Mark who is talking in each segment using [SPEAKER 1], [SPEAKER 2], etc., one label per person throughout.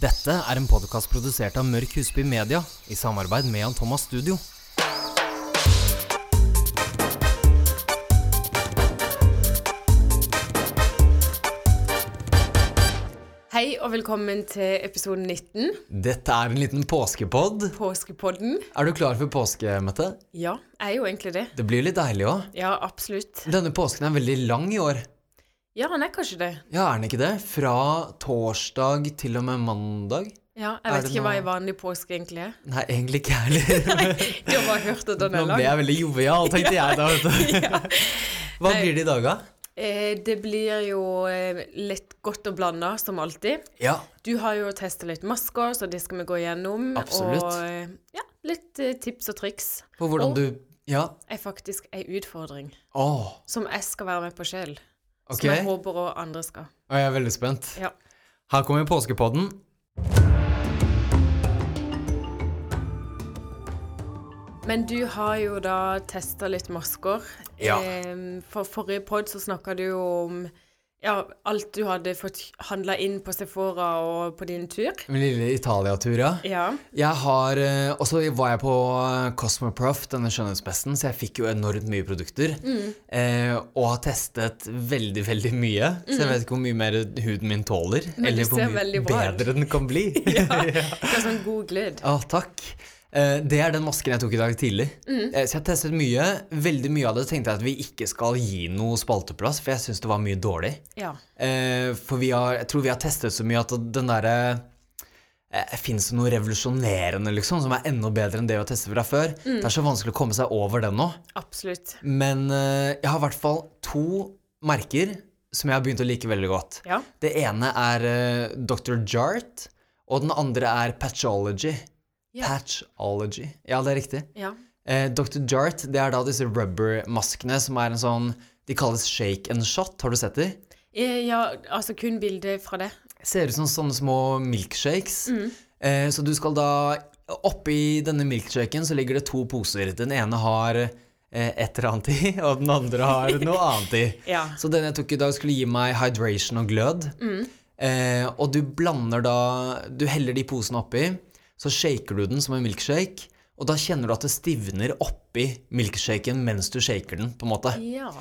[SPEAKER 1] Dette er en podkast produsert av Mørk Husby Media i samarbeid med Jan Thomas Studio.
[SPEAKER 2] Hei og velkommen til episode 19,
[SPEAKER 1] Dette er en liten påskepod.
[SPEAKER 2] påskepodden.
[SPEAKER 1] Er du klar for påske, Mette?
[SPEAKER 2] Ja, jeg er jo egentlig det.
[SPEAKER 1] Det blir jo litt deilig òg.
[SPEAKER 2] Ja, absolutt.
[SPEAKER 1] Denne påsken er veldig lang i år.
[SPEAKER 2] Ja, han er kanskje det.
[SPEAKER 1] Ja, er den ikke det? Fra torsdag til og med mandag?
[SPEAKER 2] Ja,
[SPEAKER 1] Er
[SPEAKER 2] Jeg vet
[SPEAKER 1] det
[SPEAKER 2] ikke
[SPEAKER 1] noe-
[SPEAKER 2] hva en vanlig påske egentlig er.
[SPEAKER 1] Nei, egentlig ikke jeg heller.
[SPEAKER 2] Du har bare hørt at den
[SPEAKER 1] Nå
[SPEAKER 2] er
[SPEAKER 1] ble
[SPEAKER 2] lang.
[SPEAKER 1] jeg veldig jovial, tenkte jeg da. vet
[SPEAKER 2] Ja.
[SPEAKER 1] du. Hva blir det i dag, da?
[SPEAKER 2] Eh, det blir jo eh, litt godt og blanda, som alltid.
[SPEAKER 1] Ja.
[SPEAKER 2] Du har jo testa litt masker, så det skal vi gå gjennom.
[SPEAKER 1] Absolutt.
[SPEAKER 2] Og eh, ja, litt eh, tips og triks.
[SPEAKER 1] På hvordan
[SPEAKER 2] Og-
[SPEAKER 1] du Ja.
[SPEAKER 2] Er faktisk ei utfordring
[SPEAKER 1] Åh,
[SPEAKER 2] som jeg skal være med på sjøl.
[SPEAKER 1] ok.
[SPEAKER 2] Som jeg håper også andre skal.
[SPEAKER 1] Og jeg er veldig spent.
[SPEAKER 2] Ja.
[SPEAKER 1] Her kommer påskepodden.
[SPEAKER 2] Men du har jo da testa litt masker.
[SPEAKER 1] Ja.
[SPEAKER 2] Ehm, For forrige pod så snakka du jo om ja, alt du hadde fått handla inn på Sephora og på din tur.
[SPEAKER 1] Min lille Italia-tur, ja.
[SPEAKER 2] Ja.
[SPEAKER 1] Jeg har, eh, Og så var jeg på eh, Cosmoprof, denne skjønnhetsmessen, så jeg fikk jo enormt mye produkter.
[SPEAKER 2] Mm.
[SPEAKER 1] Eh, og har testet veldig, veldig mye. Så jeg vet ikke hvor mye mer huden min tåler.
[SPEAKER 2] Mm. Men du
[SPEAKER 1] eller hvor
[SPEAKER 2] ser
[SPEAKER 1] mye
[SPEAKER 2] veldig bra ut.
[SPEAKER 1] bedre den kan bli. ja.
[SPEAKER 2] Det er sånn god glød.
[SPEAKER 1] Å, takk. Eh, det er den masken jeg tok i dag tidlig.
[SPEAKER 2] Mm.
[SPEAKER 1] Eh, så jeg har testet mye. Veldig mye av det tenkte jeg at vi ikke skal gi noe spalteplass, for jeg syns det var mye dårlig.
[SPEAKER 2] Ja.
[SPEAKER 1] Eh, for vi har, jeg tror vi har testet så mye at den derre eh, Fins det noe revolusjonerende liksom, som er enda bedre enn det vi har testet fra før? Det er så vanskelig å komme seg over den nå.
[SPEAKER 2] Absolutt.
[SPEAKER 1] Men eh, jeg har i hvert fall to merker som jeg har begynt å like veldig godt.
[SPEAKER 2] Ja.
[SPEAKER 1] Det ene er eh, Dr. Jart, og den andre er Patchology.
[SPEAKER 2] Ja.
[SPEAKER 1] Patchology. Ja, det er riktig.
[SPEAKER 2] Ja.
[SPEAKER 1] Eh, Dr. Jart det er da disse rubber-maskene som er en sånn De kalles shake and shot. Har du sett de?
[SPEAKER 2] Eh, ja, altså kun bilde fra det.
[SPEAKER 1] ser ut som sånne små milkshakes. Eh, så du skal da Oppi denne milkshaken så ligger det to poser. Den ene har eh, et eller annet i, og den andre har noe annet i.
[SPEAKER 2] Ja.
[SPEAKER 1] Så den jeg tok i dag, skulle gi meg hydration og glød. Eh, og du blander da Du heller de posene oppi, så shaker du den som en milkshake. Og da kjenner du at det stivner oppi milkshaken mens du shaker den. på en måte.
[SPEAKER 2] Ja.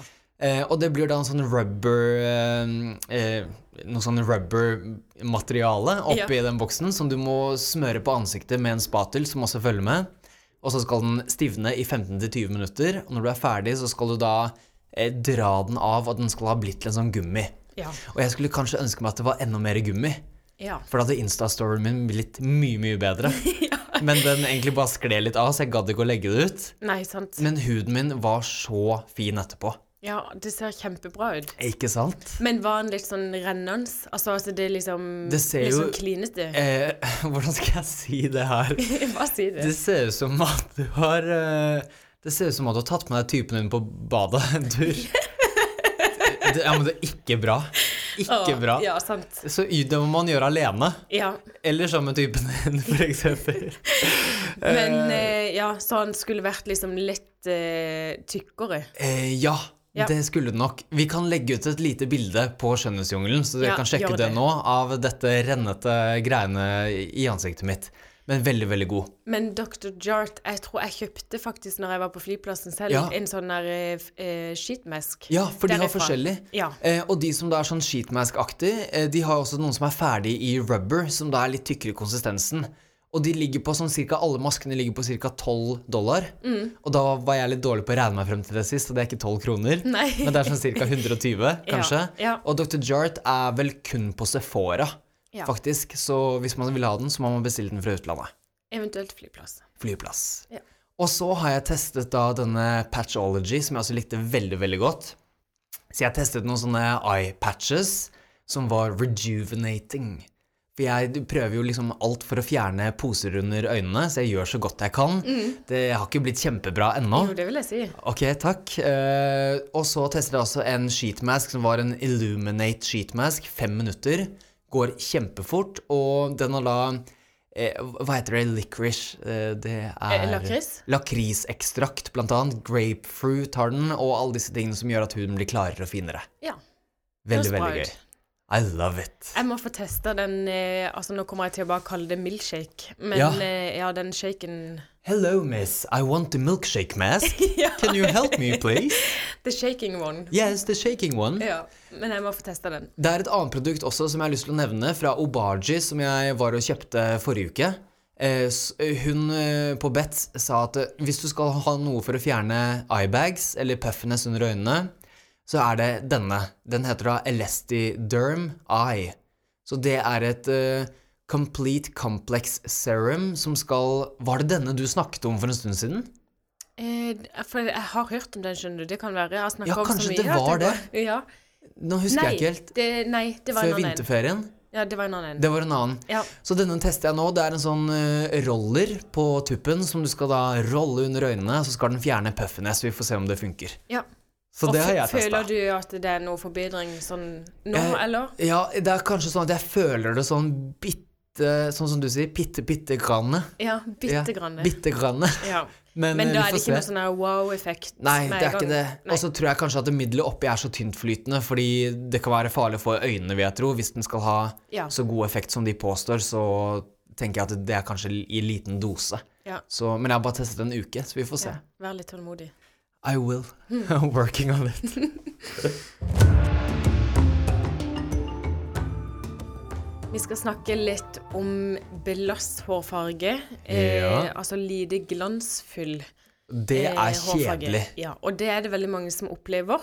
[SPEAKER 1] Eh, og det blir da en sånn rubber eh, eh, Noe sånn rubber-materiale oppi den boksen som du må smøre på ansiktet med en spatel, som også følger med. Og så skal den stivne i 15-20 minutter. Og når du er ferdig, så skal du da eh, dra den av, og den skal ha blitt til en sånn gummi.
[SPEAKER 2] Ja.
[SPEAKER 1] Og jeg skulle kanskje ønske meg at det var enda mer gummi,
[SPEAKER 2] ja.
[SPEAKER 1] for da hadde Insta-storyen min blitt mye, mye bedre. Men den egentlig bare skled litt av, så jeg gadd ikke å legge det ut.
[SPEAKER 2] Nei, sant.
[SPEAKER 1] Men huden min var så fin etterpå.
[SPEAKER 2] Ja, det ser kjempebra ut.
[SPEAKER 1] Ikke sant?
[SPEAKER 2] Men var den litt sånn rennende? Altså, altså det er liksom
[SPEAKER 1] Det ser
[SPEAKER 2] litt
[SPEAKER 1] jo-
[SPEAKER 2] sånn klinete?
[SPEAKER 1] Eh, hvordan skal jeg si det her?
[SPEAKER 2] Hva sier du?
[SPEAKER 1] Eh, Det ser ut som at du har eh, Det ser ut som at du har tatt med deg typen din på badet en tur. Det, ja, men det er ikke bra. Ikke
[SPEAKER 2] Å,
[SPEAKER 1] bra.
[SPEAKER 2] Ja, sant.
[SPEAKER 1] Så det må man gjøre alene.
[SPEAKER 2] Ja.
[SPEAKER 1] Eller sammen med typen din, f.eks.
[SPEAKER 2] Men eh, ja, så han skulle vært liksom litt eh, tykkere.
[SPEAKER 1] Eh, ja,
[SPEAKER 2] Ja.
[SPEAKER 1] det skulle det nok. Vi kan legge ut et lite bilde på Skjønnhetsjungelen, så dere
[SPEAKER 2] Ja,
[SPEAKER 1] kan sjekke
[SPEAKER 2] gjør
[SPEAKER 1] det.
[SPEAKER 2] det.
[SPEAKER 1] nå, av dette rennete greiene i ansiktet mitt. Men veldig, veldig god.
[SPEAKER 2] Men Dr. Jart, jeg tror jeg kjøpte faktisk når jeg var på flyplassen selv,
[SPEAKER 1] Ja.
[SPEAKER 2] en sånn der eh, f- eh, sheetmask.
[SPEAKER 1] Ja, for de har
[SPEAKER 2] Derifra.
[SPEAKER 1] forskjellig.
[SPEAKER 2] Ja.
[SPEAKER 1] Eh, og de som da er sånn sheetmask-aktig, eh, de har også noen som er ferdig i rubber, som da er litt tykkere i konsistensen. Og de ligger på sånn cirka, alle maskene ligger på ca. 12 dollar.
[SPEAKER 2] Mm.
[SPEAKER 1] Og da var jeg litt dårlig på å regne meg frem til det sist, og det er ikke 12 kroner.
[SPEAKER 2] Nei.
[SPEAKER 1] Men det er sånn ca. 120, kanskje.
[SPEAKER 2] ja.
[SPEAKER 1] Og Dr. Jart er vel kun på Sephora,
[SPEAKER 2] Ja.
[SPEAKER 1] faktisk. Så hvis man vil ha den, så må man bestille den fra utlandet.
[SPEAKER 2] Eventuelt flyplass.
[SPEAKER 1] Flyplass.
[SPEAKER 2] Ja.
[SPEAKER 1] Og så har jeg testet da denne Patchology, som jeg også likte veldig, veldig godt. Så jeg testet noen sånne eye patches som var rejuvenating. For jeg prøver jo liksom alt for å fjerne poser under øynene, så jeg gjør så godt jeg kan. Det har ikke blitt kjempebra ennå.
[SPEAKER 2] Jo, det vil jeg si.
[SPEAKER 1] Ok, takk. Eh, og så testet jeg også en sheetmask som var en Illuminate sheetmask. Fem minutter. Går kjempefort, og den har da eh, Hva heter det? Licorice? Eh, det er
[SPEAKER 2] Eh, lakris?
[SPEAKER 1] Lakrisekstrakt, blant annet. Grapefruit har den, og alle disse tingene som gjør at huden blir klarere og finere.
[SPEAKER 2] Ja.
[SPEAKER 1] Veldig,
[SPEAKER 2] Høres bra
[SPEAKER 1] veldig gøy.
[SPEAKER 2] ut.
[SPEAKER 1] I love it.
[SPEAKER 2] Jeg må få testa den eh, Altså, nå kommer jeg til å bare kalle det milkshake, men ja,
[SPEAKER 1] Ja.
[SPEAKER 2] ja den shaken
[SPEAKER 1] Hello, miss. I want the milkshake mask.
[SPEAKER 2] Ja.
[SPEAKER 1] Can you help me, please?
[SPEAKER 2] The shaking one.
[SPEAKER 1] Yes, the shaking one.
[SPEAKER 2] Ja. Men jeg må få testa den.
[SPEAKER 1] Det er et annet produkt også som jeg har lyst til å nevne, fra Obaji, som jeg var og kjøpte forrige uke. Eh, s- Hun eh, på Bet sa at eh, hvis du skal ha noe for å fjerne eyebags, eller puffiness under øynene, så er det denne. Den heter da Elestiderm Eye. Så det er et eh, Complete Complex Serum som skal Var det denne du snakket om for en stund siden?
[SPEAKER 2] Eh, for jeg har hørt om den, skjønner du. Det kan være. Jeg har snakka
[SPEAKER 1] Ja,
[SPEAKER 2] om så
[SPEAKER 1] kanskje
[SPEAKER 2] mye.
[SPEAKER 1] det
[SPEAKER 2] at
[SPEAKER 1] var
[SPEAKER 2] jeg bare- Ja.
[SPEAKER 1] Nå husker
[SPEAKER 2] Nei,
[SPEAKER 1] jeg ikke helt.
[SPEAKER 2] det, nei, det var
[SPEAKER 1] Før
[SPEAKER 2] en annen.
[SPEAKER 1] vinterferien.
[SPEAKER 2] Ja, det var en annen.
[SPEAKER 1] Det var en annen.
[SPEAKER 2] Ja.
[SPEAKER 1] Så denne tester jeg nå. Det er en sånn eh, roller på tuppen som du skal da rolle under øynene, så skal den fjerne puffiness. Vi får se om det funker.
[SPEAKER 2] ja.
[SPEAKER 1] Så
[SPEAKER 2] Og
[SPEAKER 1] det har
[SPEAKER 2] fø-
[SPEAKER 1] jeg testa.
[SPEAKER 2] Føler du at det er noe forbedring sånn nå,
[SPEAKER 1] Eh,
[SPEAKER 2] eller?
[SPEAKER 1] Ja, det er kanskje sånn at jeg føler det sånn bitte Sånn som du sier, bitte, bitte granne.
[SPEAKER 2] Ja,
[SPEAKER 1] Ja,
[SPEAKER 2] bitte grann.
[SPEAKER 1] bitte granne.
[SPEAKER 2] Ja.
[SPEAKER 1] Men,
[SPEAKER 2] Men
[SPEAKER 1] eh,
[SPEAKER 2] da
[SPEAKER 1] vi får
[SPEAKER 2] er det ikke
[SPEAKER 1] se.
[SPEAKER 2] noe sånn her wow-effekt.
[SPEAKER 1] Nei,
[SPEAKER 2] med
[SPEAKER 1] det er
[SPEAKER 2] en
[SPEAKER 1] ikke det.
[SPEAKER 2] gang. Nei.
[SPEAKER 1] Og så tror jeg kanskje at det middelet oppi er så tyntflytende, fordi det kan være farlig for øynene, vil jeg tro. Hvis den skal ha
[SPEAKER 2] Ja.
[SPEAKER 1] så god effekt som de påstår, så tenker jeg at det er kanskje i liten dose.
[SPEAKER 2] Ja.
[SPEAKER 1] Så, men jeg har bare testet en uke, så vi får se.
[SPEAKER 2] Ja, Vær litt tålmodig.
[SPEAKER 1] I will.
[SPEAKER 2] Hmm.
[SPEAKER 1] I'm working on it.
[SPEAKER 2] Vi skal snakke litt om belast hårfarge. Eh,
[SPEAKER 1] Ja.
[SPEAKER 2] altså lite glansfull.
[SPEAKER 1] Det
[SPEAKER 2] eh,
[SPEAKER 1] er
[SPEAKER 2] hårfarge.
[SPEAKER 1] kjedelig.
[SPEAKER 2] Ja, og det er det veldig mange som opplever.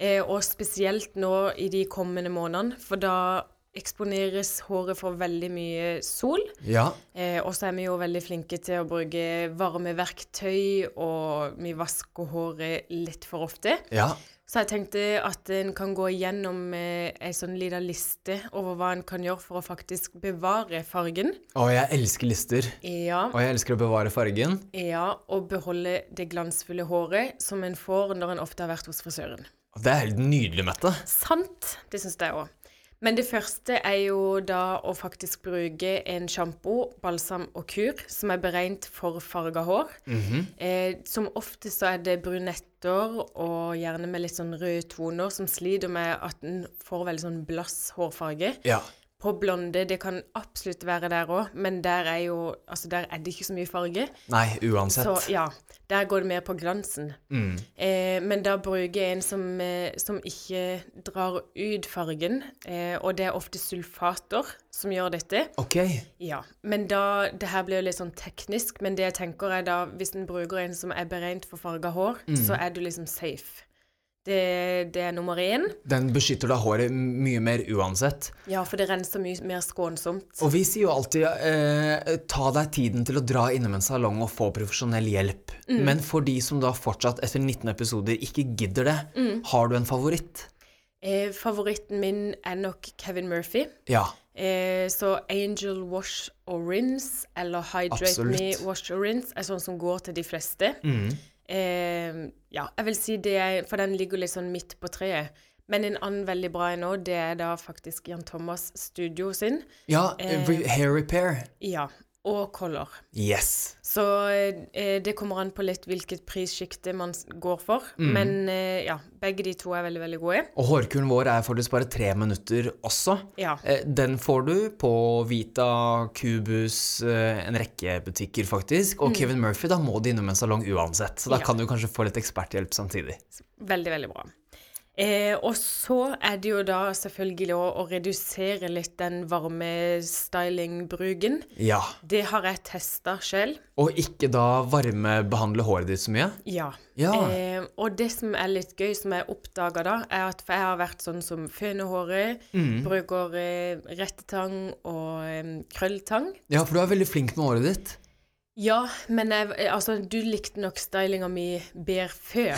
[SPEAKER 2] Eh, og spesielt nå i de kommende månedene, for da eksponeres håret for veldig mye sol.
[SPEAKER 1] Ja.
[SPEAKER 2] Eh, og så er vi jo veldig flinke til å bruke varme verktøy, og vi vasker håret litt for ofte.
[SPEAKER 1] ja.
[SPEAKER 2] Så jeg tenkte at en kan gå igjennom eh, ei sånn lita liste over hva en kan gjøre for å faktisk bevare fargen.
[SPEAKER 1] Og jeg elsker lister.
[SPEAKER 2] Ja,
[SPEAKER 1] Og jeg elsker å bevare fargen.
[SPEAKER 2] ja, og beholde det glansfulle håret som en får når en ofte har vært hos frisøren.
[SPEAKER 1] Og Det er helt nydelig, Mette.
[SPEAKER 2] Sant, det syns jeg òg. Men det første er jo da å faktisk bruke en sjampo, balsam og kur som er beregnet for farga hår. eh, som ofte så er det brunetter og gjerne med litt sånn røde toner som sliter med at en får veldig sånn blass hårfarge.
[SPEAKER 1] Ja.
[SPEAKER 2] På blonde, det kan absolutt være der òg, men der er jo Altså, der er det ikke så mye farge.
[SPEAKER 1] Nei,
[SPEAKER 2] Så
[SPEAKER 1] uansett.
[SPEAKER 2] ja, der går det mer på glansen. Eh, men da bruker jeg en som, eh, som ikke drar ut fargen, eh, og det er ofte sulfater som gjør dette.
[SPEAKER 1] Ok.
[SPEAKER 2] Ja, men da, det her blir jo litt sånn teknisk, men det jeg tenker er da, hvis en bruker en som er beregnet for farga hår, så er du liksom safe. Det, det er nummer én.
[SPEAKER 1] Den beskytter da håret mye mer uansett.
[SPEAKER 2] Ja, for det renser mye mer skånsomt.
[SPEAKER 1] Og vi sier jo alltid eh, ta deg tiden til å dra innom en salong og få profesjonell hjelp.
[SPEAKER 2] Mm.
[SPEAKER 1] Men for de som da fortsatt etter 19 episoder ikke gidder det,
[SPEAKER 2] Mm.
[SPEAKER 1] har du en favoritt?
[SPEAKER 2] Eh, favoritten min er nok Kevin Murphy.
[SPEAKER 1] Ja.
[SPEAKER 2] Eh, så Angel Wash og Rinse, eller Hydrate
[SPEAKER 1] Absolutt.
[SPEAKER 2] Me Wash og Rinse, er sånn som går til de fleste. Eh, ja, jeg vil si det er For den ligger litt sånn midt på treet. Men en annen veldig bra en òg, det er da faktisk Jan Thomas Studio sin.
[SPEAKER 1] Ja,
[SPEAKER 2] Eh.
[SPEAKER 1] re- hair repair.
[SPEAKER 2] Ja. Og Color.
[SPEAKER 1] Yes.
[SPEAKER 2] Så eh, det kommer an på litt hvilket prissjikte man s- går for. Men eh, ja, begge de to er veldig, veldig gode.
[SPEAKER 1] Og hårkuren vår er faktisk bare tre minutter også.
[SPEAKER 2] Ja.
[SPEAKER 1] Eh, Den får du på Vita, Cubus, eh, en rekke butikker faktisk. Og Kevin Murphy, da må de innom en salong uansett. Så da
[SPEAKER 2] Mm. Ja.
[SPEAKER 1] kan du kanskje få litt eksperthjelp samtidig.
[SPEAKER 2] Veldig, veldig bra. Eh, og så er det jo da selvfølgelig å, å redusere litt den varme stylingbruken.
[SPEAKER 1] Ja.
[SPEAKER 2] Det har jeg testa sjøl.
[SPEAKER 1] Og ikke da varmebehandle håret ditt så mye.
[SPEAKER 2] Ja.
[SPEAKER 1] Ja.
[SPEAKER 2] Eh, og det som er litt gøy, som jeg oppdaga da, er at for jeg har vært sånn som føner håret, bruker eh, rettetang og eh, krølltang.
[SPEAKER 1] Ja, for du er veldig flink med håret ditt.
[SPEAKER 2] Ja, men jeg, altså, du likte nok stylinga mi bedre før,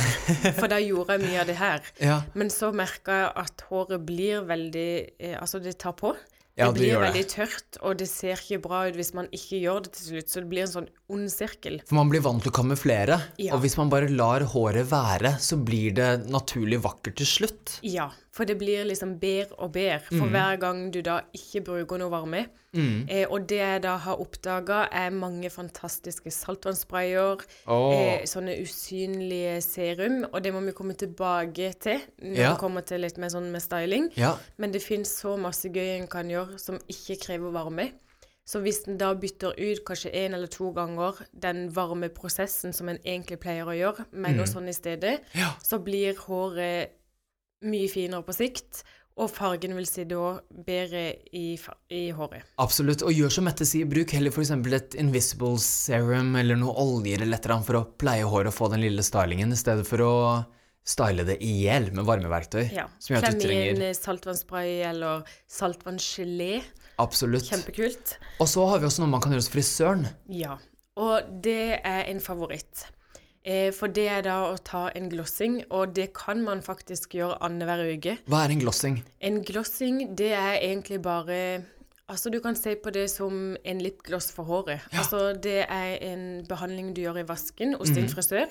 [SPEAKER 2] for da gjorde jeg mye av det her.
[SPEAKER 1] Ja.
[SPEAKER 2] Men så merka jeg at håret blir veldig eh, Altså, det tar på. Det
[SPEAKER 1] Ja, det
[SPEAKER 2] blir
[SPEAKER 1] gjør det.
[SPEAKER 2] veldig tørt, og det ser ikke bra ut hvis man ikke gjør det til slutt. Så det blir en sånn ond sirkel.
[SPEAKER 1] For man blir vant til å kamuflere.
[SPEAKER 2] Ja.
[SPEAKER 1] Og hvis man bare lar håret være, så blir det naturlig vakkert til slutt. Mhm.
[SPEAKER 2] Ja, for det blir liksom bedre og bedre for hver gang du da ikke bruker noe varme.
[SPEAKER 1] Mm.
[SPEAKER 2] Eh, og det jeg da har oppdaga, er mange fantastiske saltvannsprayer.
[SPEAKER 1] Åh.
[SPEAKER 2] Eh, sånne usynlige serum. Og det må vi komme tilbake til når
[SPEAKER 1] Ja.
[SPEAKER 2] vi kommer til litt mer sånn med styling.
[SPEAKER 1] Ja.
[SPEAKER 2] Men det fins så masse gøy en kan gjøre som ikke krever varme. Så hvis en da bytter ut kanskje én eller to ganger den varme prosessen som en egentlig pleier å gjøre, med
[SPEAKER 1] Mm.
[SPEAKER 2] noe sånn i stedet,
[SPEAKER 1] Ja.
[SPEAKER 2] så blir håret mye finere på sikt, og fargen vil si da bedre i, fa- i håret.
[SPEAKER 1] Absolutt. Og gjør som Mette sier, bruk heller f.eks. et invisible serum eller noe oljer eller et eller annet for å pleie håret og få den lille stylingen, i stedet for å style det i hjel med varmeverktøy.
[SPEAKER 2] Ja.
[SPEAKER 1] Som gjør at du
[SPEAKER 2] Klem i en
[SPEAKER 1] trenger
[SPEAKER 2] eh, saltvannsspray eller saltvannsgelé.
[SPEAKER 1] Absolutt.
[SPEAKER 2] Kjempekult.
[SPEAKER 1] Og så har vi også noe man kan gjøre hos frisøren.
[SPEAKER 2] Ja, og det er en favoritt. Eh, for det er da å ta en glossing, og det kan man faktisk gjøre annenhver uke.
[SPEAKER 1] Hva er en glossing?
[SPEAKER 2] En glossing, det er egentlig bare Altså, du kan se på det som en lipgloss for håret. Altså, det er en behandling du gjør i vasken hos din frisør.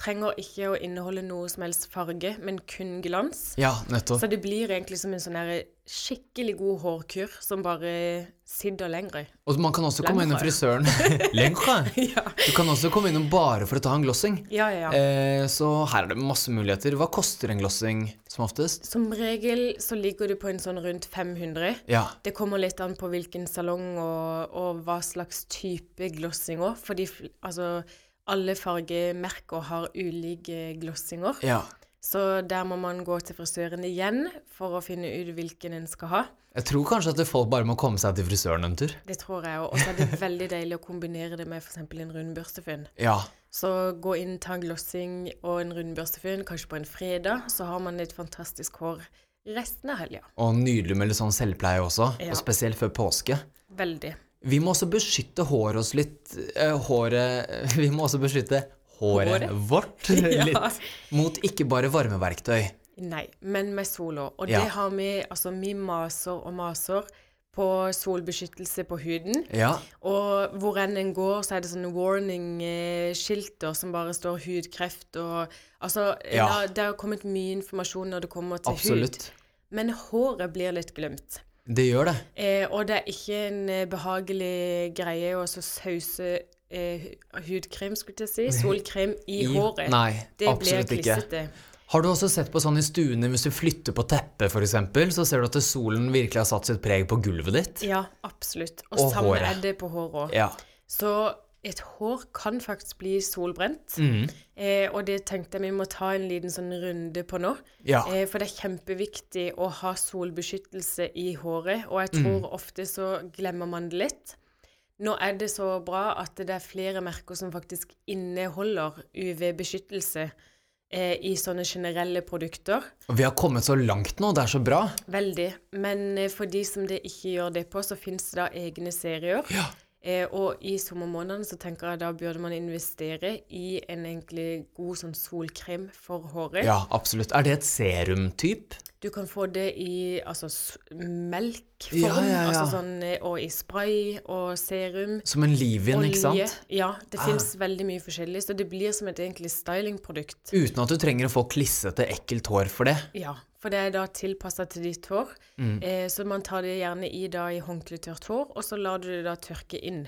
[SPEAKER 2] Trenger ikke å inneholde noe som helst farge, men kun glans.
[SPEAKER 1] Ja, nettopp.
[SPEAKER 2] Så det blir egentlig som en sånn her skikkelig god hårkur som bare sitter lengre.
[SPEAKER 1] Og man kan også komme innom frisøren Lengre. Du kan også komme innom bare for å ta en glossing.
[SPEAKER 2] Ja, ja, ja.
[SPEAKER 1] Eh, så her er det masse muligheter. Hva koster en glossing som oftest?
[SPEAKER 2] Som regel så ligger du på en sånn rundt 500.
[SPEAKER 1] Ja.
[SPEAKER 2] Det kommer litt an på hvilken salong og, og hva slags type glossinger. Fordi fl- altså, alle fargemerker har ulike glossinger.
[SPEAKER 1] ja.
[SPEAKER 2] Så der må man gå til frisøren igjen for å finne ut hvilken en skal ha.
[SPEAKER 1] Jeg tror kanskje at folk bare må komme seg til frisøren en tur.
[SPEAKER 2] Det tror jeg òg. Og så er det veldig deilig å kombinere det med f.eks. en rundbørstefønn.
[SPEAKER 1] Ja.
[SPEAKER 2] Så gå inn, ta en glossing og en rundbørstefønn, kanskje på en fredag, så har man et fantastisk hår resten av helga.
[SPEAKER 1] Og nydelig med litt sånn selvpleie også,
[SPEAKER 2] Ja.
[SPEAKER 1] og spesielt før påske.
[SPEAKER 2] Veldig.
[SPEAKER 1] Vi må også beskytte håret oss litt eh, Håret Vi må også beskytte håret,
[SPEAKER 2] Håret?
[SPEAKER 1] vårt litt mot ikke bare varmeverktøy.
[SPEAKER 2] Nei, men med solo. Og
[SPEAKER 1] Ja.
[SPEAKER 2] det har vi Altså, vi maser og maser på solbeskyttelse på huden.
[SPEAKER 1] Ja.
[SPEAKER 2] Og hvor enn en går, så er det sånne warning-skilter som bare står 'hudkreft' og Altså,
[SPEAKER 1] Ja.
[SPEAKER 2] det, det har kommet mye informasjon når det kommer til
[SPEAKER 1] Absolutt.
[SPEAKER 2] hud. Men håret blir litt glemt.
[SPEAKER 1] Det gjør det.
[SPEAKER 2] Eh, og det er ikke en eh, behagelig greie å så sause eh, hu- hudkrem, skulle jeg si, solkrem i, håret.
[SPEAKER 1] Nei,
[SPEAKER 2] det blir
[SPEAKER 1] absolutt ikke.
[SPEAKER 2] klissete.
[SPEAKER 1] Har du også sett på sånn i stuene, hvis du flytter på teppet f.eks., så ser du at solen virkelig har satt sitt preg på gulvet ditt?
[SPEAKER 2] Ja, absolutt. Og,
[SPEAKER 1] Og
[SPEAKER 2] samme
[SPEAKER 1] håret.
[SPEAKER 2] er det på håret òg.
[SPEAKER 1] Ja.
[SPEAKER 2] Så et hår kan faktisk bli solbrent. Eh, og det tenkte jeg vi må ta en liten sånn runde på nå.
[SPEAKER 1] Ja.
[SPEAKER 2] Eh, for det er kjempeviktig å ha solbeskyttelse i håret, og jeg tror ofte så glemmer man det litt. Nå er det så bra at det er flere merker som faktisk inneholder UV-beskyttelse eh, i sånne generelle produkter.
[SPEAKER 1] Vi har kommet så langt nå, det er så bra.
[SPEAKER 2] Veldig. Men eh, for de som det ikke gjør det på, så fins det da egne serier. Eh, og i sommermånedene så tenker jeg da burde man investere i en egentlig god sånn solkrem for håret.
[SPEAKER 1] Ja, absolutt. Er det et serumtyp?
[SPEAKER 2] Du kan få det i altså s- melkform,
[SPEAKER 1] Ja, ja, ja.
[SPEAKER 2] Altså sånn, eh, og i spray og serum.
[SPEAKER 1] Som en leave-in, ikke sant? Ah.
[SPEAKER 2] Ja, det fins veldig mye forskjellig, så det blir som et egentlig stylingprodukt.
[SPEAKER 1] Uten at du trenger å få klissete, ekkelt hår for det.
[SPEAKER 2] Ja, for det er da tilpassa til ditt hår.
[SPEAKER 1] Mm.
[SPEAKER 2] Eh, så man tar det gjerne i da i håndkletørt hår, og så lar du det da tørke inn.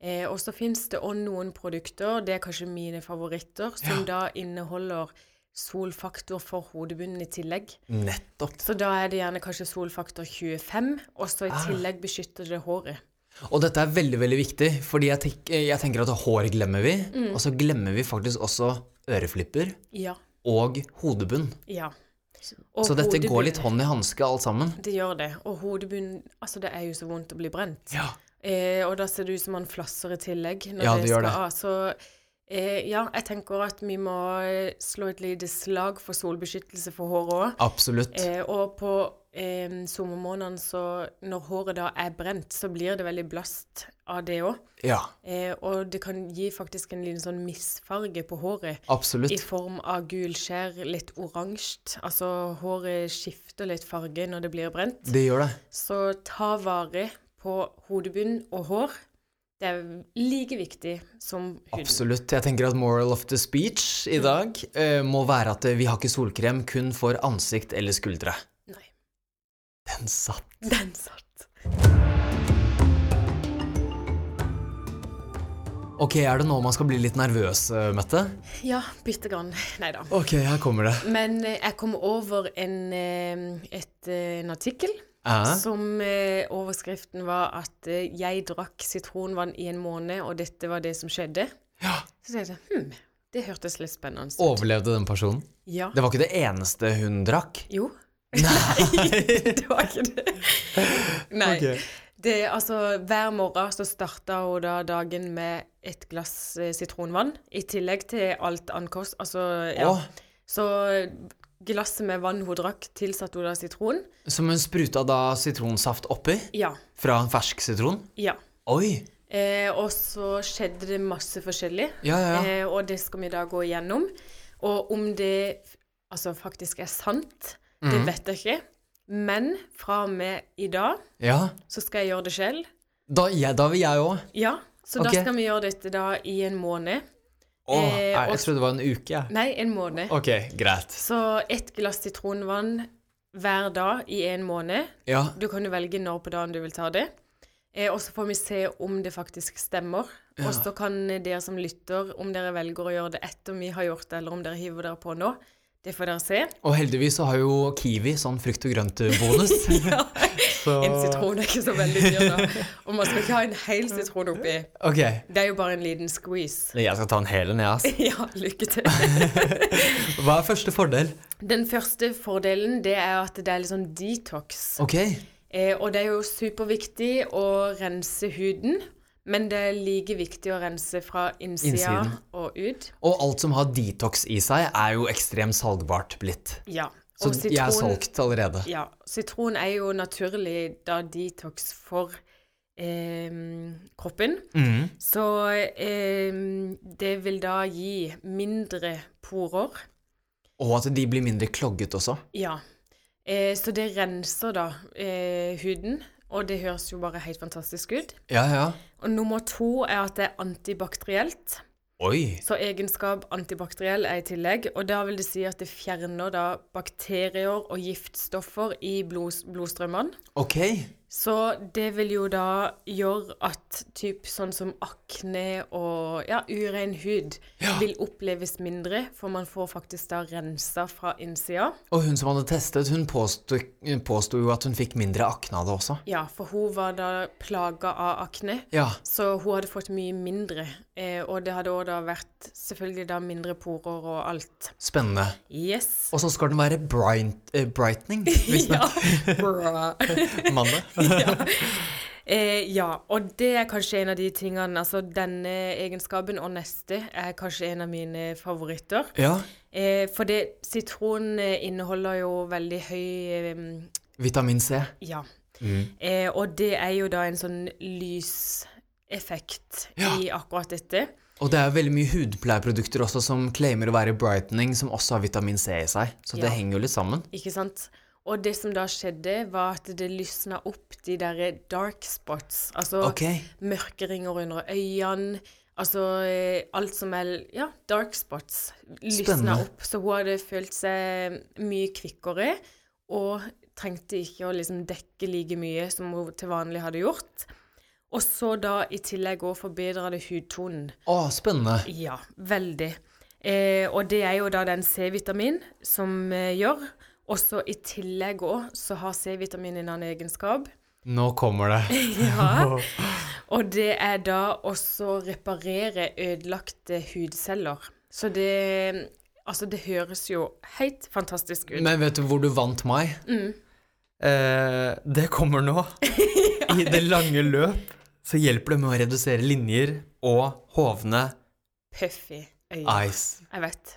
[SPEAKER 2] Eh, og så fins det òg noen produkter, det er kanskje mine favoritter, som da inneholder solfaktor for hodebunnen i tillegg.
[SPEAKER 1] Nettopp.
[SPEAKER 2] Så da er det gjerne kanskje solfaktor 25, og så i
[SPEAKER 1] Ah.
[SPEAKER 2] tillegg beskytter det håret.
[SPEAKER 1] Og dette er veldig, veldig viktig, fordi jeg, tenk, jeg tenker at hår glemmer vi, og så glemmer vi faktisk også øreflipper
[SPEAKER 2] Ja.
[SPEAKER 1] og hodebunn.
[SPEAKER 2] Ja. Og
[SPEAKER 1] så dette går litt
[SPEAKER 2] hodebunnen-
[SPEAKER 1] hånd i hanske, alt sammen.
[SPEAKER 2] Det gjør det. Og hodebunnen Altså, det er jo så vondt å bli brent.
[SPEAKER 1] Ja.
[SPEAKER 2] Eh, og da ser det ut som man flasser i tillegg. Når
[SPEAKER 1] Ja,
[SPEAKER 2] det
[SPEAKER 1] det gjør
[SPEAKER 2] skal
[SPEAKER 1] det.
[SPEAKER 2] av. Så eh, ja, jeg tenker at vi må eh, slå et lite slag for solbeskyttelse for håret òg.
[SPEAKER 1] Absolutt.
[SPEAKER 2] Eh, og på eh, sommermånedene, så når håret da er brent, så blir det veldig blast av det òg.
[SPEAKER 1] Ja,
[SPEAKER 2] Eh, og det kan gi faktisk en liten sånn misfarge på håret. I
[SPEAKER 1] absolutt.
[SPEAKER 2] form av gulskjær, litt oransje. Altså håret skifter litt farge når det blir brent.
[SPEAKER 1] Det gjør det.
[SPEAKER 2] Så ta vare på hodebunn og hår. Det er like viktig som huden.
[SPEAKER 1] Absolutt. Jeg tenker at moral of the speech i dag eh, må være at eh, vi har ikke solkrem kun for ansikt eller skuldre.
[SPEAKER 2] Nei,
[SPEAKER 1] Den satt.
[SPEAKER 2] den satt.
[SPEAKER 1] Ok, er det nå man skal bli litt nervøs, eh, Mette?
[SPEAKER 2] Ja, bitte grann. Nei da.
[SPEAKER 1] Ok, her kommer det.
[SPEAKER 2] Men eh, jeg kom over en, eh, et, eh, en artikkel
[SPEAKER 1] Ja.
[SPEAKER 2] som eh, overskriften var at eh, 'jeg drakk sitronvann i en måned, og dette var det som skjedde'.
[SPEAKER 1] Ja.
[SPEAKER 2] Så tenkte jeg hm, det hørtes litt spennende ut.
[SPEAKER 1] Overlevde den personen?
[SPEAKER 2] Ja.
[SPEAKER 1] Det var ikke det eneste hun drakk.
[SPEAKER 2] Jo. Nei, det var ikke det. Nei.
[SPEAKER 1] Ok.
[SPEAKER 2] Det, altså, hver morgen så starta hun da dagen med et glass eh, sitronvann, i tillegg til alt ankost. Altså, ja.
[SPEAKER 1] Åh.
[SPEAKER 2] Så glasset med vann hun drakk, tilsatte hun da sitron.
[SPEAKER 1] Som hun spruta da sitronsaft oppi?
[SPEAKER 2] Ja.
[SPEAKER 1] Fra en fersk sitron?
[SPEAKER 2] Ja.
[SPEAKER 1] Oi!
[SPEAKER 2] Eh, og så skjedde det masse forskjellig,
[SPEAKER 1] Ja, ja, ja.
[SPEAKER 2] eh, og det skal vi da gå igjennom. Og om det f- altså faktisk er sant,
[SPEAKER 1] Mhm.
[SPEAKER 2] det vet jeg ikke. Men fra og med i dag
[SPEAKER 1] ja.
[SPEAKER 2] så skal jeg gjøre det selv.
[SPEAKER 1] Da, ja, da vil jeg òg.
[SPEAKER 2] Ja, så
[SPEAKER 1] Ok.
[SPEAKER 2] da skal vi gjøre dette da i en måned.
[SPEAKER 1] Åh, jeg,
[SPEAKER 2] Eh,
[SPEAKER 1] jeg
[SPEAKER 2] og-
[SPEAKER 1] trodde det var en uke, jeg.
[SPEAKER 2] Nei, en måned.
[SPEAKER 1] Ok, greit.
[SPEAKER 2] Så ett glass sitronvann hver dag i en måned.
[SPEAKER 1] Ja.
[SPEAKER 2] Du kan jo velge når på dagen du vil ta det. Eh, og så får vi se om det faktisk stemmer. Og så kan dere som lytter, om dere velger å gjøre det etter vi har gjort det, eller om dere hiver dere på nå, det får dere se.
[SPEAKER 1] Og heldigvis så har jo Kiwi sånn frukt og grønt-bonus. Så-
[SPEAKER 2] En sitron er ikke så veldig dyr, da. Og man skal ikke ha en hel sitron oppi.
[SPEAKER 1] Ok.
[SPEAKER 2] Det er jo bare en liten squeeze.
[SPEAKER 1] Jeg skal ta en hel en, jeg, ass.
[SPEAKER 2] Ja, lykke til.
[SPEAKER 1] Hva er første fordel?
[SPEAKER 2] Den første fordelen det er at det er litt sånn detox.
[SPEAKER 1] Ok.
[SPEAKER 2] Eh, og det er jo superviktig å rense huden, men det er like viktig å rense fra innsida
[SPEAKER 1] Innsiden.
[SPEAKER 2] og ut.
[SPEAKER 1] Og alt som har detox i seg, er jo ekstremt salgbart blitt.
[SPEAKER 2] Ja.
[SPEAKER 1] Så
[SPEAKER 2] Og
[SPEAKER 1] jeg er
[SPEAKER 2] sitron-
[SPEAKER 1] solgt allerede.
[SPEAKER 2] Ja, sitron er jo naturlig da detox for em, kroppen.
[SPEAKER 1] Mm.
[SPEAKER 2] Så em, det vil da gi mindre porer.
[SPEAKER 1] Og at de blir mindre klogget også.
[SPEAKER 2] Ja. Eh, så det renser da eh, huden, og det høres jo bare helt fantastisk ut.
[SPEAKER 1] Ja, ja.
[SPEAKER 2] Og nummer to er at det er antibakterielt.
[SPEAKER 1] Oi.
[SPEAKER 2] Så egenskap antibakteriell er i tillegg, og da vil det si at det fjerner da bakterier og giftstoffer i blods blodstrømmene.
[SPEAKER 1] Ok.
[SPEAKER 2] Så det vil jo da gjøre at typ sånn som akne og ja, urein hud vil oppleves mindre, for man får faktisk da rensa fra innsida.
[SPEAKER 1] Og hun som hadde testet, hun påsto påsto jo at hun fikk mindre akne av det også.
[SPEAKER 2] Ja, for hun var da plaga av akne.
[SPEAKER 1] Ja.
[SPEAKER 2] Så hun hadde fått mye mindre, eh, og det hadde også da vært selvfølgelig da mindre porer og alt.
[SPEAKER 1] Spennende.
[SPEAKER 2] Yes.
[SPEAKER 1] Og så skal den være bright, eh, brightening. Hvis
[SPEAKER 2] Ja. Bra.
[SPEAKER 1] Mandag.
[SPEAKER 2] Eh, ja, og det er kanskje en av de tingene, altså denne egenskapen og neste er kanskje en av mine favoritter.
[SPEAKER 1] Ja.
[SPEAKER 2] Eh, for det, sitron eh, inneholder jo veldig høy, eh,
[SPEAKER 1] Vitamin C.
[SPEAKER 2] ja. Eh, og det er jo da en sånn lyseffekt i akkurat dette.
[SPEAKER 1] Og det er veldig mye hudpleieprodukter også som claimer å være brightening, som også har vitamin C i seg. Så det
[SPEAKER 2] Ja.
[SPEAKER 1] henger jo litt sammen.
[SPEAKER 2] Ikke sant? Og det som da skjedde, var at det lysna opp de derre dark spots. Altså
[SPEAKER 1] Ok.
[SPEAKER 2] mørke ringer under øynene. Altså eh, alt som er Ja, dark spots lysna
[SPEAKER 1] Spennende.
[SPEAKER 2] opp. Så hun hadde følt seg mye kvikkere og trengte ikke å liksom dekke like mye som hun til vanlig hadde gjort. Og så da i tillegg òg forbedra det hudtonen.
[SPEAKER 1] Å, spennende.
[SPEAKER 2] Ja, veldig. Eh, og det er jo da den C-vitamin som eh, gjør. Og så i tillegg òg så har C-vitamin en annen egenskap.
[SPEAKER 1] Nå kommer det.
[SPEAKER 2] Ja. Og det er da også å reparere ødelagte hudceller. Så det Altså, det høres jo helt fantastisk ut.
[SPEAKER 1] Men vet du hvor du vant meg?
[SPEAKER 2] Mm.
[SPEAKER 1] Eh, det kommer nå. I det lange løp så hjelper det med å redusere linjer og hovne
[SPEAKER 2] Puffy øyne.
[SPEAKER 1] eyes.
[SPEAKER 2] Jeg vet.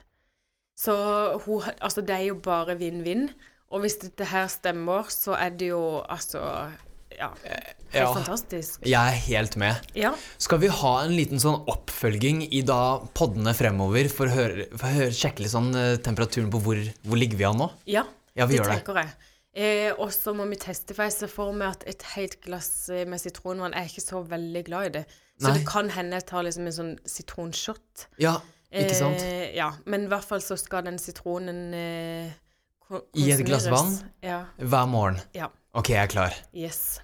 [SPEAKER 2] Så hun har- Altså, det er jo bare vinn-vinn. Og hvis dette her stemmer, så er det jo altså Ja. Helt
[SPEAKER 1] ja.
[SPEAKER 2] fantastisk.
[SPEAKER 1] Jeg er helt med.
[SPEAKER 2] Ja.
[SPEAKER 1] Skal vi ha en liten sånn oppfølging i da poddene fremover for å høre, for å høre, sjekke litt sånn eh, temperaturen på hvor, hvor ligger vi an nå?
[SPEAKER 2] Ja,
[SPEAKER 1] Ja, vi
[SPEAKER 2] det
[SPEAKER 1] gjør det.
[SPEAKER 2] tenker jeg. Eh, og så må vi teste, for jeg ser for meg at et helt glass eh, med sitronvann Jeg er ikke så veldig glad i det. Så
[SPEAKER 1] Nei.
[SPEAKER 2] det kan hende jeg tar liksom en sånn sitronshot.
[SPEAKER 1] Ja, ikke sant?
[SPEAKER 2] Eh, ja, men i hvert fall så skal den sitronen eh, ko-
[SPEAKER 1] I et glass
[SPEAKER 2] konsumeres. Ja.
[SPEAKER 1] Hver morgen.
[SPEAKER 2] ja.
[SPEAKER 1] Ok, jeg er klar.
[SPEAKER 2] Yes.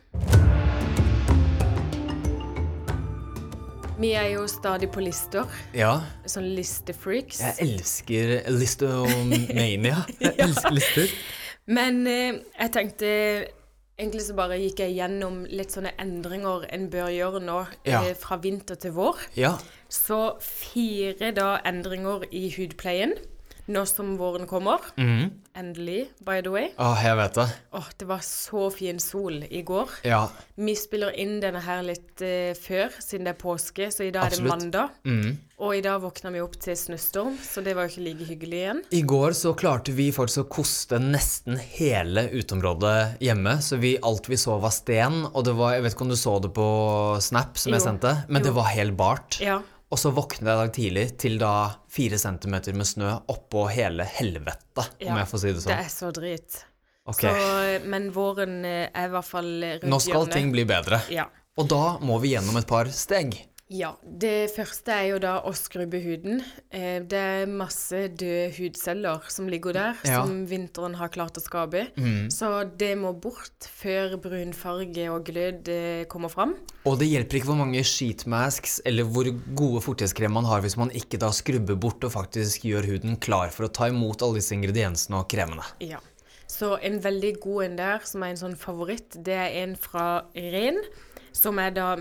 [SPEAKER 2] Vi er jo stadig på lister.
[SPEAKER 1] Ja.
[SPEAKER 2] Sånn listefreaks.
[SPEAKER 1] Jeg elsker listomania. Jeg elsker lister.
[SPEAKER 2] Men eh, jeg tenkte Egentlig så bare gikk jeg gjennom litt sånne endringer en bør gjøre nå
[SPEAKER 1] Ja.
[SPEAKER 2] eh, fra vinter til vår.
[SPEAKER 1] Ja.
[SPEAKER 2] Så fire da endringer i hudpleien nå som våren kommer.
[SPEAKER 1] Mhm.
[SPEAKER 2] Endelig, by the way.
[SPEAKER 1] Åh, jeg vet det.
[SPEAKER 2] Åh, det var så fin sol i går.
[SPEAKER 1] Ja.
[SPEAKER 2] Vi spiller inn denne her litt eh, før, siden det er påske, så i dag er det
[SPEAKER 1] Absolutt.
[SPEAKER 2] mandag.
[SPEAKER 1] Mm.
[SPEAKER 2] Og i dag våkna vi opp til snøstorm, så det var jo ikke like hyggelig igjen.
[SPEAKER 1] I går så klarte vi faktisk å koste nesten hele uteområdet hjemme, så vi, alt vi så var sten, og det var, jeg vet ikke om du så det på Snap som jeg
[SPEAKER 2] Jo.
[SPEAKER 1] sendte, men
[SPEAKER 2] Jo.
[SPEAKER 1] det var helt bart.
[SPEAKER 2] Ja.
[SPEAKER 1] Og så våknet jeg i dag tidlig til da fire centimeter med snø oppå hele helvete,
[SPEAKER 2] Ja,
[SPEAKER 1] om jeg får si det
[SPEAKER 2] Det
[SPEAKER 1] sånn.
[SPEAKER 2] er så drit.
[SPEAKER 1] Ok.
[SPEAKER 2] Så, men våren eh, er i hvert fall rundt
[SPEAKER 1] Nå skal
[SPEAKER 2] hjørnet.
[SPEAKER 1] ting bli bedre.
[SPEAKER 2] Ja.
[SPEAKER 1] Og da må vi gjennom et par steg.
[SPEAKER 2] ja. Det første er jo da å skrubbe huden. Eh, Det er masse døde hudceller som ligger der,
[SPEAKER 1] Ja. Mm.
[SPEAKER 2] som vinteren har klart å skape. Så det må bort før brunfarge og glød eh, kommer fram.
[SPEAKER 1] Og det hjelper ikke hvor mange sheetmasks eller hvor gode fuktighetskremer man har hvis man ikke da skrubber bort og faktisk gjør huden klar for å ta imot alle disse ingrediensene og kremene.
[SPEAKER 2] Ja. Så en veldig god en der, som er en sånn favoritt, det er en fra Ren, som er da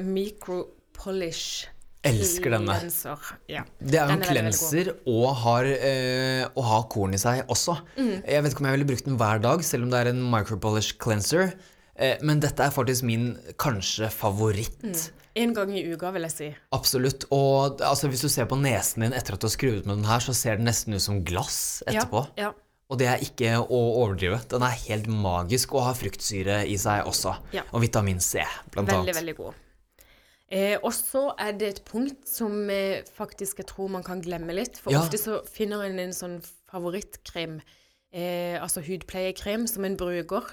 [SPEAKER 2] micropolish.
[SPEAKER 1] Elsker denne.
[SPEAKER 2] Lenser. Ja.
[SPEAKER 1] Det er jo
[SPEAKER 2] Den
[SPEAKER 1] en
[SPEAKER 2] er veldig, veldig
[SPEAKER 1] klenser og, har, eh, og har korn i seg også.
[SPEAKER 2] Mm.
[SPEAKER 1] Jeg vet ikke om jeg ville brukt den hver dag, selv om det er en micropolish cleanser. Eh, men dette er faktisk min kanskje favoritt.
[SPEAKER 2] En gang i uka, vil jeg si.
[SPEAKER 1] Absolutt. Og altså, hvis du ser på nesen din etter at du har skrudd med den her, så ser den nesten ut som glass etterpå.
[SPEAKER 2] Ja,
[SPEAKER 1] Og det er ikke å overdrive. Den er helt magisk og har fruktsyre i seg også.
[SPEAKER 2] Ja.
[SPEAKER 1] Og vitamin C,
[SPEAKER 2] ja.
[SPEAKER 1] blant
[SPEAKER 2] Veldig,
[SPEAKER 1] annet.
[SPEAKER 2] veldig god. Eh, og så er det et punkt som eh, faktisk jeg tror man kan glemme litt. For
[SPEAKER 1] Ja.
[SPEAKER 2] ofte så finner en en sånn favorittkrem, eh, altså hudpleiekrem, som en bruker.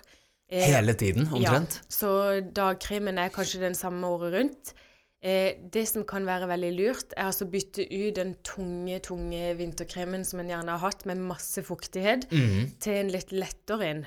[SPEAKER 2] Eh,
[SPEAKER 1] Hele tiden, omtrent.
[SPEAKER 2] Ja, så dagkremen er kanskje den samme året rundt. Eh, det som kan være veldig lurt, er altså å bytte ut den tunge, tunge vinterkremen som en gjerne har hatt, med masse fuktighet, til en litt lettere en.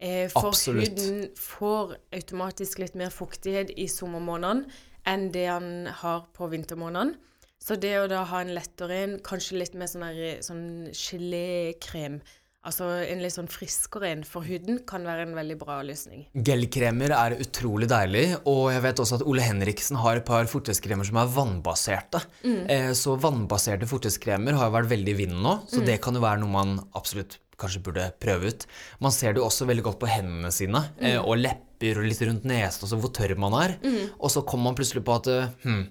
[SPEAKER 2] Eh, for
[SPEAKER 1] Mhm. Absolutt.
[SPEAKER 2] huden får automatisk litt mer fuktighet i sommermånedene enn det han har på vintermånedene. Så det å da ha en lettere en, kanskje litt mer sånn, her- sånn gelékrem, altså en litt sånn friskere en for huden, kan være en veldig bra løsning.
[SPEAKER 1] Gelkremer er utrolig deilig, og jeg vet også at Ole Henriksen har et par forteskremer som er vannbaserte.
[SPEAKER 2] Mm.
[SPEAKER 1] Eh, så vannbaserte forteskremer har jo vært veldig i vinden nå,
[SPEAKER 2] Mm.
[SPEAKER 1] så det kan jo være noe man absolutt kanskje burde prøve ut. Man ser det jo også veldig godt på hendene sine,
[SPEAKER 2] Mm.
[SPEAKER 1] eh, og lepper og litt rundt nesen, og så hvor tørr man er. Og så kommer man plutselig på at eh, hm,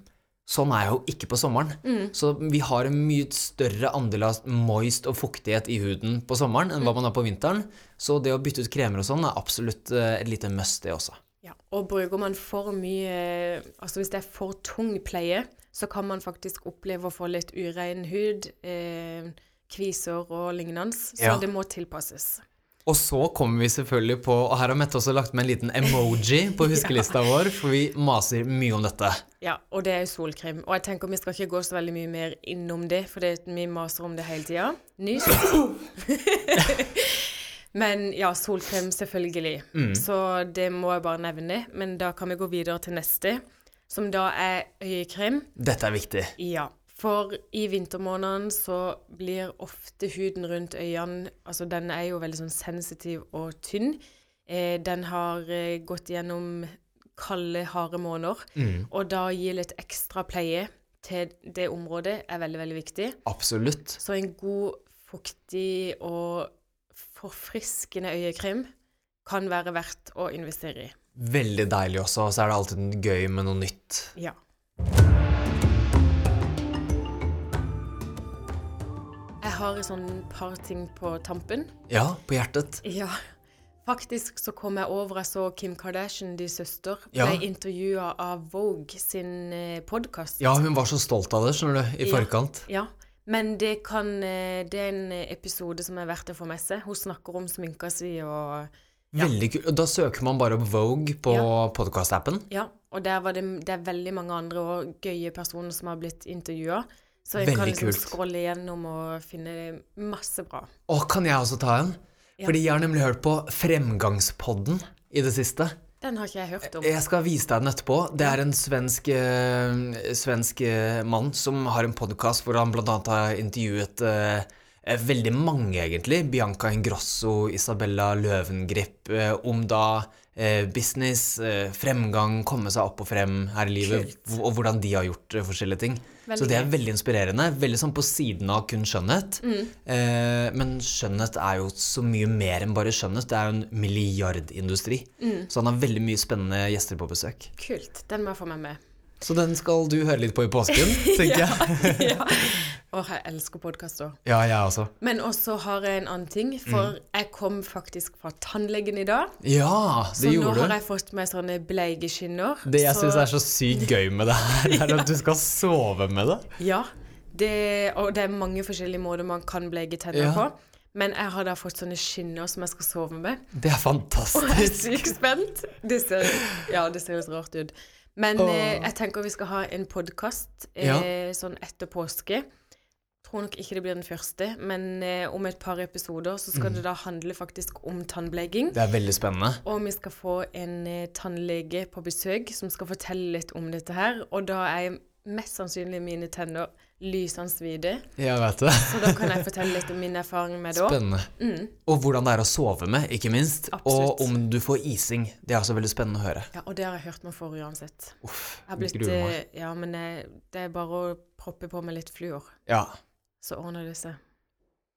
[SPEAKER 1] Sånn er jeg jo ikke på sommeren. Så vi har en mye større andel av moist og fuktighet i huden på sommeren enn hva man har på vinteren. Så det å bytte ut kremer og sånn er absolutt eh, et lite must, det også.
[SPEAKER 2] Ja, og bruker man for mye Altså hvis det er for tung pleie, så kan man faktisk oppleve å få litt urein hud, eh, kviser og lignende. Så
[SPEAKER 1] Ja.
[SPEAKER 2] det må tilpasses.
[SPEAKER 1] Og så kommer vi selvfølgelig på Og her har Mette også lagt med en liten emoji på huskelista vår, for vi maser mye om dette.
[SPEAKER 2] Ja, og det er jo solkrem. Og jeg tenker vi skal ikke gå så veldig mye mer innom det, for det, vi maser om det hele tida. Nys. Men ja, solkrem selvfølgelig. Så det må jeg bare nevne. Men da kan vi gå videre til neste, som da er øyekrem.
[SPEAKER 1] Dette er viktig.
[SPEAKER 2] Ja, for i vintermånedene så blir ofte huden rundt øynene Altså, den er jo veldig sånn sensitiv og tynn. Eh, den har eh, gått gjennom kalde, harde måneder. Og da å gi litt ekstra pleie til det området er veldig, veldig viktig.
[SPEAKER 1] Absolutt.
[SPEAKER 2] Så en god, fuktig og forfriskende øyekrem kan være verdt å investere i.
[SPEAKER 1] Veldig deilig også, og så er det alltid gøy med noe nytt.
[SPEAKER 2] Ja. Jeg har et sånn par ting på tampen.
[SPEAKER 1] Ja, på hjertet.
[SPEAKER 2] Ja. Faktisk så kom jeg over jeg så Kim Kardashian, de søster,
[SPEAKER 1] Ja.
[SPEAKER 2] ble intervjua av Vogue sin eh, podkast.
[SPEAKER 1] Ja, hun var så stolt av det, skjønner du, i
[SPEAKER 2] Ja.
[SPEAKER 1] forkant.
[SPEAKER 2] Ja, men det, kan, eh, det er en episode som er verdt å få med seg. Hun snakker om sminka si og
[SPEAKER 1] Veldig kult. Da søker man bare opp Vogue på
[SPEAKER 2] Ja.
[SPEAKER 1] podkast-appen.
[SPEAKER 2] Ja, og der var det, det er veldig mange andre og gøye personer som har blitt intervjua. Så jeg kan
[SPEAKER 1] Veldig
[SPEAKER 2] liksom
[SPEAKER 1] kult.
[SPEAKER 2] scrolle gjennom og finne masse bra.
[SPEAKER 1] Å, kan jeg også ta en? Fordi jeg har nemlig hørt på Fremgangspodden i det siste.
[SPEAKER 2] Den har ikke jeg hørt om.
[SPEAKER 1] Jeg skal vise deg den etterpå. Det er en svensk, eh, svensk eh, mann som har en podkast hvor han bl.a. har intervjuet eh, eh, veldig mange, egentlig. Bianca Ingrosso, Isabella Løvengrip, eh, om da eh, business, eh, fremgang, komme seg opp og frem her i livet,
[SPEAKER 2] Kult.
[SPEAKER 1] hvor- og hvordan de har gjort eh, forskjellige ting.
[SPEAKER 2] Veldig
[SPEAKER 1] Så det er veldig inspirerende. Veldig sånn på siden av kun skjønnhet.
[SPEAKER 2] Mm.
[SPEAKER 1] Eh, men skjønnhet er jo så mye mer enn bare skjønnhet. Det er jo en milliardindustri.
[SPEAKER 2] Mm.
[SPEAKER 1] Så han har veldig mye spennende gjester på besøk.
[SPEAKER 2] Kult. Den må jeg få meg med.
[SPEAKER 1] Så den skal du høre litt på i påsken, tenker jeg.
[SPEAKER 2] ja. Åh, jeg elsker podkaster.
[SPEAKER 1] Ja, jeg også.
[SPEAKER 2] Men også har jeg en annen ting,
[SPEAKER 1] Mm.
[SPEAKER 2] for jeg kom faktisk fra tannlegen i dag.
[SPEAKER 1] Ja, det
[SPEAKER 2] Så nå
[SPEAKER 1] gjorde
[SPEAKER 2] har
[SPEAKER 1] du.
[SPEAKER 2] jeg fått meg sånne bleike skinner.
[SPEAKER 1] Det jeg
[SPEAKER 2] så-
[SPEAKER 1] syns er så sykt gøy med det her, er at du skal sove med det.
[SPEAKER 2] Ja, det, og det er mange forskjellige måter man kan bleike tenner
[SPEAKER 1] Ja.
[SPEAKER 2] på. Men jeg har da fått sånne skinner som jeg skal sove med.
[SPEAKER 1] Det er
[SPEAKER 2] Og jeg er
[SPEAKER 1] fantastisk.
[SPEAKER 2] sykt spent. Det ser, ja, det ser litt rart ut. Men
[SPEAKER 1] Åh.
[SPEAKER 2] eh, jeg tenker vi skal ha en podkast eh, sånn etter påske. Tror nok ikke det blir den første, men eh, om et par episoder så
[SPEAKER 1] Mm.
[SPEAKER 2] skal det da handle faktisk om tannbleking.
[SPEAKER 1] Det er veldig spennende.
[SPEAKER 2] Og vi skal få en eh, tannlege på besøk som skal fortelle litt om dette her. Og da er mest sannsynlig mine tenner lysende hvite.
[SPEAKER 1] Jeg vet det.
[SPEAKER 2] Så da kan jeg fortelle litt om min erfaring med det òg.
[SPEAKER 1] Spennende. Og hvordan det er å sove med, ikke minst.
[SPEAKER 2] Mm.
[SPEAKER 1] Og
[SPEAKER 2] Absolutt.
[SPEAKER 1] om du får ising. Det er også veldig spennende å høre.
[SPEAKER 2] Ja, og det har jeg hørt meg for uansett.
[SPEAKER 1] Uff,
[SPEAKER 2] Jeg har blitt,
[SPEAKER 1] gruer meg.
[SPEAKER 2] eh, ja, men eh, det er bare å proppe på med litt fluor,
[SPEAKER 1] Ja.
[SPEAKER 2] så ordner det seg.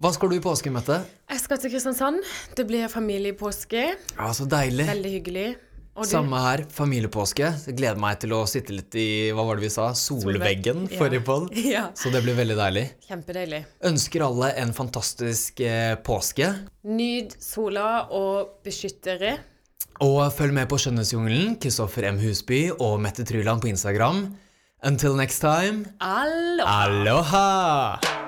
[SPEAKER 1] Hva skal du i påsken, Mette?
[SPEAKER 2] Jeg skal til Kristiansand. Det blir familiepåske.
[SPEAKER 1] Ja, så deilig.
[SPEAKER 2] Veldig hyggelig. Og du?
[SPEAKER 1] Eh. Samme her, familiepåske. Jeg gleder meg til å sitte litt i hva var det vi sa, solveggen
[SPEAKER 2] Solvegg, ja.
[SPEAKER 1] forrige podd.
[SPEAKER 2] Ja.
[SPEAKER 1] Så det blir veldig deilig.
[SPEAKER 2] Kjempedeilig.
[SPEAKER 1] Ønsker alle en fantastisk eh, påske.
[SPEAKER 2] Nyd sola og beskyttere.
[SPEAKER 1] Og følg med på Skjønnhetsjungelen, Kristoffer M. Husby og Mette Tryland på Instagram. Until next time,
[SPEAKER 2] Aloha!
[SPEAKER 1] aloha!